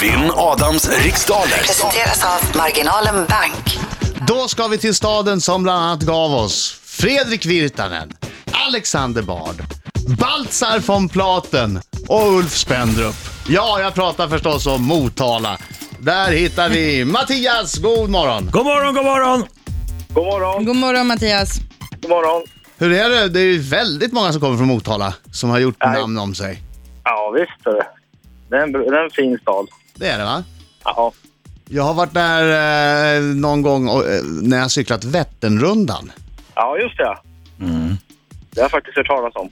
Vinn Adams riksdaler. Presenteras av Marginalen Bank. Då ska vi till staden som bland annat gav oss Fredrik Virtanen, Alexander Bard, Baltzar von Platen och Ulf Spendrup. Ja, jag pratar förstås om Motala. Där hittar vi Mattias, god morgon! God morgon, god morgon! God morgon, God morgon Mattias. god morgon. Hur är det? Det är ju väldigt många som kommer från Motala som har gjort Nej. namn om sig. Ja, visst är det. Det är en, det är en fin stad. Det är det va? Ja, Jag har varit där eh, någon gång och, eh, när jag cyklat Vätternrundan. ja just det. Det har jag faktiskt hört talas om.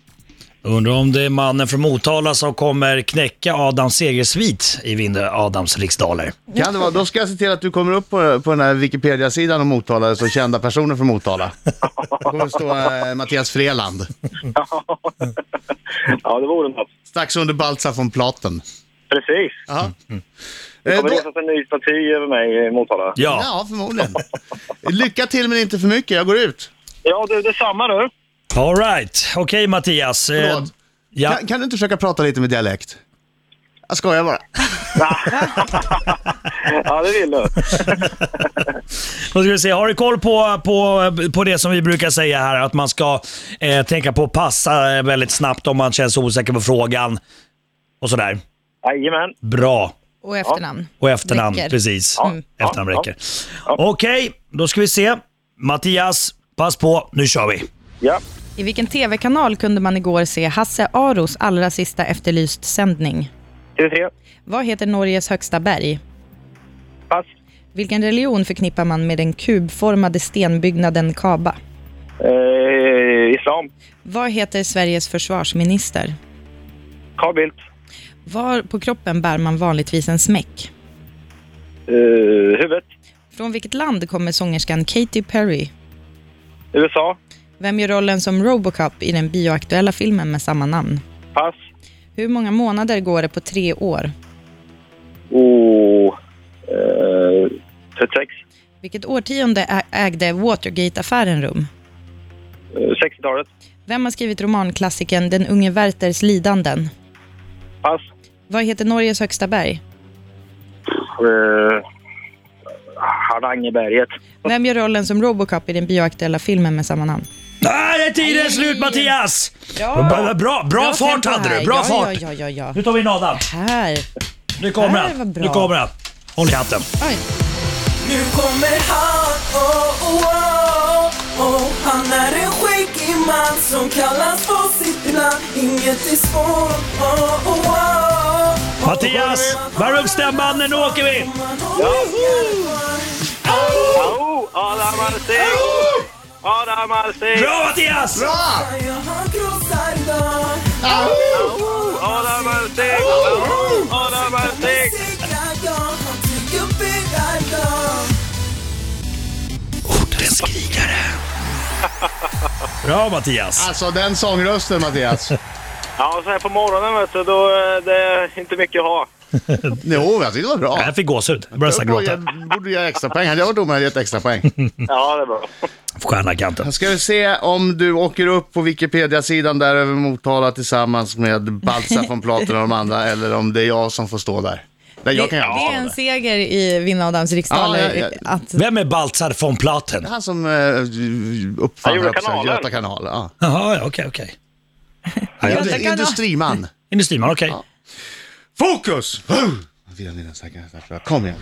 Undrar om det är mannen från Motala som kommer knäcka Adam segersvit i Vinde Adams riksdaler. Kan det vara? Då ska jag se till att du kommer upp på, på den här Wikipedia-sidan om Motala, det står kända personer från Motala. Det kommer stå eh, Mattias Freland, Ja, det vore något. strax under Baltzar von Platen. Precis. Ja. Mm, Det Eh, kommer då, resas en ny staty över mig i Motala. Ja, ja, förmodligen. Lycka till men inte för mycket, jag går ut. Ja, du, detsamma du. all right. Okej Mattias. eh, Förlåt. Ja. Kan, kan du inte försöka prata lite med dialekt? Jag skojar bara. Ja, det vill du. Då ska vi se. Har du koll på, på, på det som vi brukar säga här, att man ska eh, tänka på att passa eh, väldigt snabbt om man känns osäker på frågan och sådär. Jajamän. Bra. Och efternamn. Och efternamn, Räcker. precis. Ja, ja, Efternamn ja. räcker. Okej, då ska vi se. Mattias, pass på. Nu kör vi. Ja. I vilken tv-kanal kunde man igår se Hasse Aros allra sista efterlyst sändning? TV3. Vad heter Norges högsta berg? Pass. Vilken religion förknippar man med den kubformade stenbyggnaden Kaba? Eh, islam. Vad heter Sveriges försvarsminister? Carl Bildt. Var på kroppen bär man vanligtvis en smäck? Eh, huvudet. Från vilket land kommer sångerskan Katy Perry? USA. Vem gör rollen som Robocop i den bioaktuella filmen med samma namn? Pass. Hur många månader går det på tre år? Oh. Eh, 36. Vilket årtionde ä- ägde Watergate-affären rum? Eh, 60-talet. Vem har skrivit romanklassikern Den unge Werthers lidanden? Pass. Vad heter Norges högsta berg? Eh, Harangeberget. Vem gör rollen som Robocop i den bioaktuella filmen med samma namn? Nej, det är tiden slut Mattias! Bra, bra, bra, fart tempo hade här. du, bra ja, fart! Ja, ja, ja, ja. Nu tar vi in Adam. Här. Nu kommer Det här han. var bra. Nu kommer han. Håll i hatten. Oj. Nu kommer han, oh, oh, oh, oh. Han är en skäggig man som kallas på sitt namn Inget är svårt, oh, oh, oh. Mattias, värm upp stämbanden, nu åker vi! Oh, Adam Alsing! Adam Alsing! Bra Mattias! Bra! Adam Alsing! Adam Alsing! Ortens krigare. Bra Mattias. Alltså den sångrösten Mattias. Ja, så här på morgonen vet du, då eh, det är inte mycket att ha. Jo, jag tyckte det var bra. Jag fick gåshud. Jag började nästan gråta. Jag borde ge extra poäng. Hade jag varit domare hade jag gett extra poäng. Ja, det är bra. Stjärna i kanten. Ska vi se om du åker upp på Wikipedia-sidan där över Motala tillsammans med Balsa från Platen och de andra, eller om det är jag som får stå där. Nej, jag det, kan ju det är stå en där. seger i Vinna Adams riksdaler. Ja, ja, ja. Att, Vem är Baltzar von Platen? Han som eh, Han uppfann gjorde höll jag på att säga, kanalen. Göta kanal. Ja. Jaha, ja, okej, okej. Ja, jag- Göta kanal. Industriman. Industriman, okej. Fokus! Vill ni den stackaren därför? Kom igen.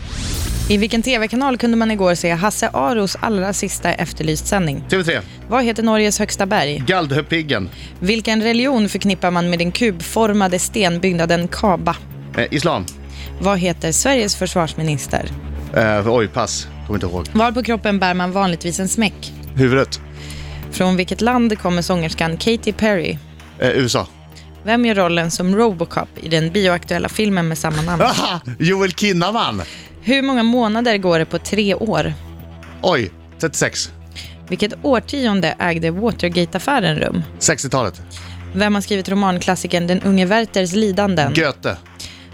I vilken tv-kanal kunde man igår se Hasse Aros allra sista efterlyst sändning? TV3, Vad heter Norges högsta berg? Galdhöpiggen, Vilken religion förknippar man med den kubformade stenbyggnaden Kaba? eh, Islam. Vad heter Sveriges försvarsminister? Eh, oj, pass. Kommer inte ihåg. Var på kroppen bär man vanligtvis en smäck? Huvudet, Från vilket land kommer sångerskan Katy Perry? eh, USA. Vem gör rollen som Robocop i den bioaktuella filmen med samma namn? Ah! Aha, Joel Kinnaman. Hur många månader går det på tre år? Oj, 36. Vilket årtionde ägde Watergate-affären rum? 60-talet. Vem har skrivit romanklassikern Den unge Werthers lidanden? Göte.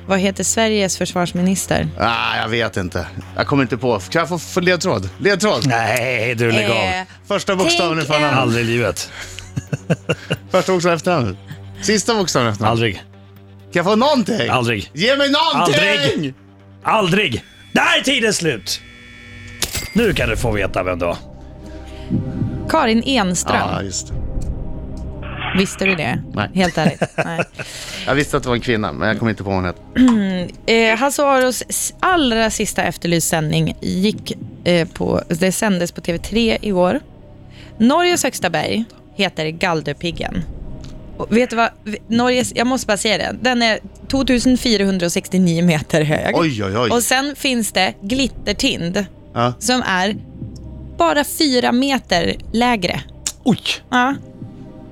Vad heter Sveriges försvarsminister? Ah, jag vet inte. Jag kommer inte på. Kan jag få få ledtråd? Ledtråd! Nej, du lägg Eh. av. Första bokstaven i tänk förnamnet. Aldrig i livet. Första bokstaven efter efternamnet. Sista bokstaven efter efternamnet. Aldrig. Kan jag få någonting? Aldrig. Ge mig någonting! Aldrig. Aldrig. Där är tiden slut! Nu kan du få veta vem det var. Karin Enström. Ah. Ja, Ah, just det. Visste du det? Nej. Helt ärligt. Nej. Jag visste att det var en kvinna, men jag kommer inte på henne. Eh, Hasse Aros s- allra sista Efterlyst sändning gick eh, på, det sändes på TV3 igår. Norges högsta berg heter Galdhöpiggen. Och Vet du vad? V- Norges, jag måste bara säga det. Den är 2469 meter hög. Oj, oj, oj. Och sen finns det Glittertind Ja. som är bara fyra meter lägre. Oj! Ja.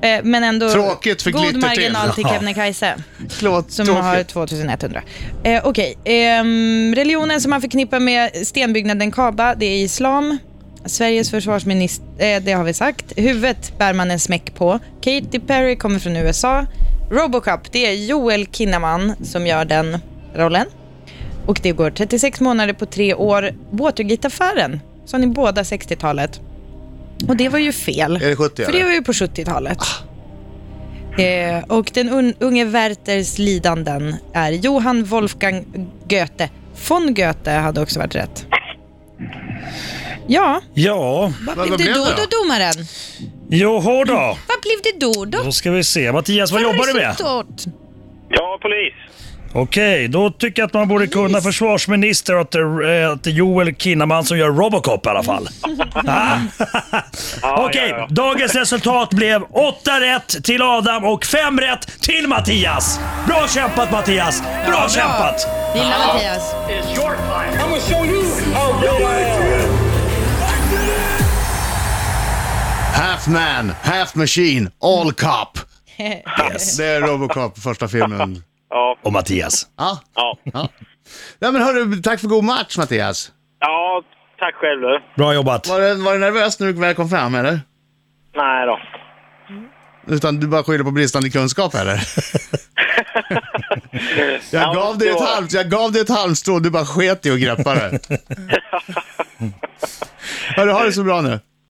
Eh, Men ändå Tråkigt för god Glittertind. marginal till Ja. Kebnekaise. Förlåt, Som tråkigt. har 2100. Eh, Okej. Ehm, religionen som man förknippar med stenbyggnaden Kaaba, det är islam. Sveriges försvarsminister, eh, det har vi sagt. Huvudet bär man en smäck på. Katy Perry kommer från USA. Robocop, det är Joel Kinnaman som gör den rollen. Och det går 36 månader på tre år. Watergate-affären, som ni båda 60-talet. Och det var ju fel. Är det 70 För det eller? var ju på 70-talet. Eh, och den un- unge Werthers lidanden är Johann Wolfgang Goethe. Von Goethe hade också varit rätt. Ja, Ja, vad Men blev vad det blev då, det då domaren? joho då. Vad blev det då då? Då ska vi se. Mattias, vad jobbar du med? Resultat. Ja, polis. Okej, då tycker jag att man borde kunna försvarsminister och att det, eh, att det är Joel Kinnaman som gör Robocop i alla fall. Ah. Okej, ja, ja. dagens resultat blev 8 rätt till Adam och 5 rätt till Mattias. Bra kämpat Mattias! Bra kämpat! Lilla Mattias. Half man, half machine, all cop. Eh, Yes. Det är Robocop, första filmen. Ja, Och Mattias. Ja. ja. ja. ja men hörru, tack för god match Mattias. Ja, tack själv du. Bra jobbat. Var du, var du nervös när du väl kom fram eller? Nej då. Utan du bara skyller på bristande kunskap eller? Ja, Jag gav dig det ett var- halvt, jag gav dig ett halmstrå, du bara sket i och greppade det. Hörru, ha det så bra nu.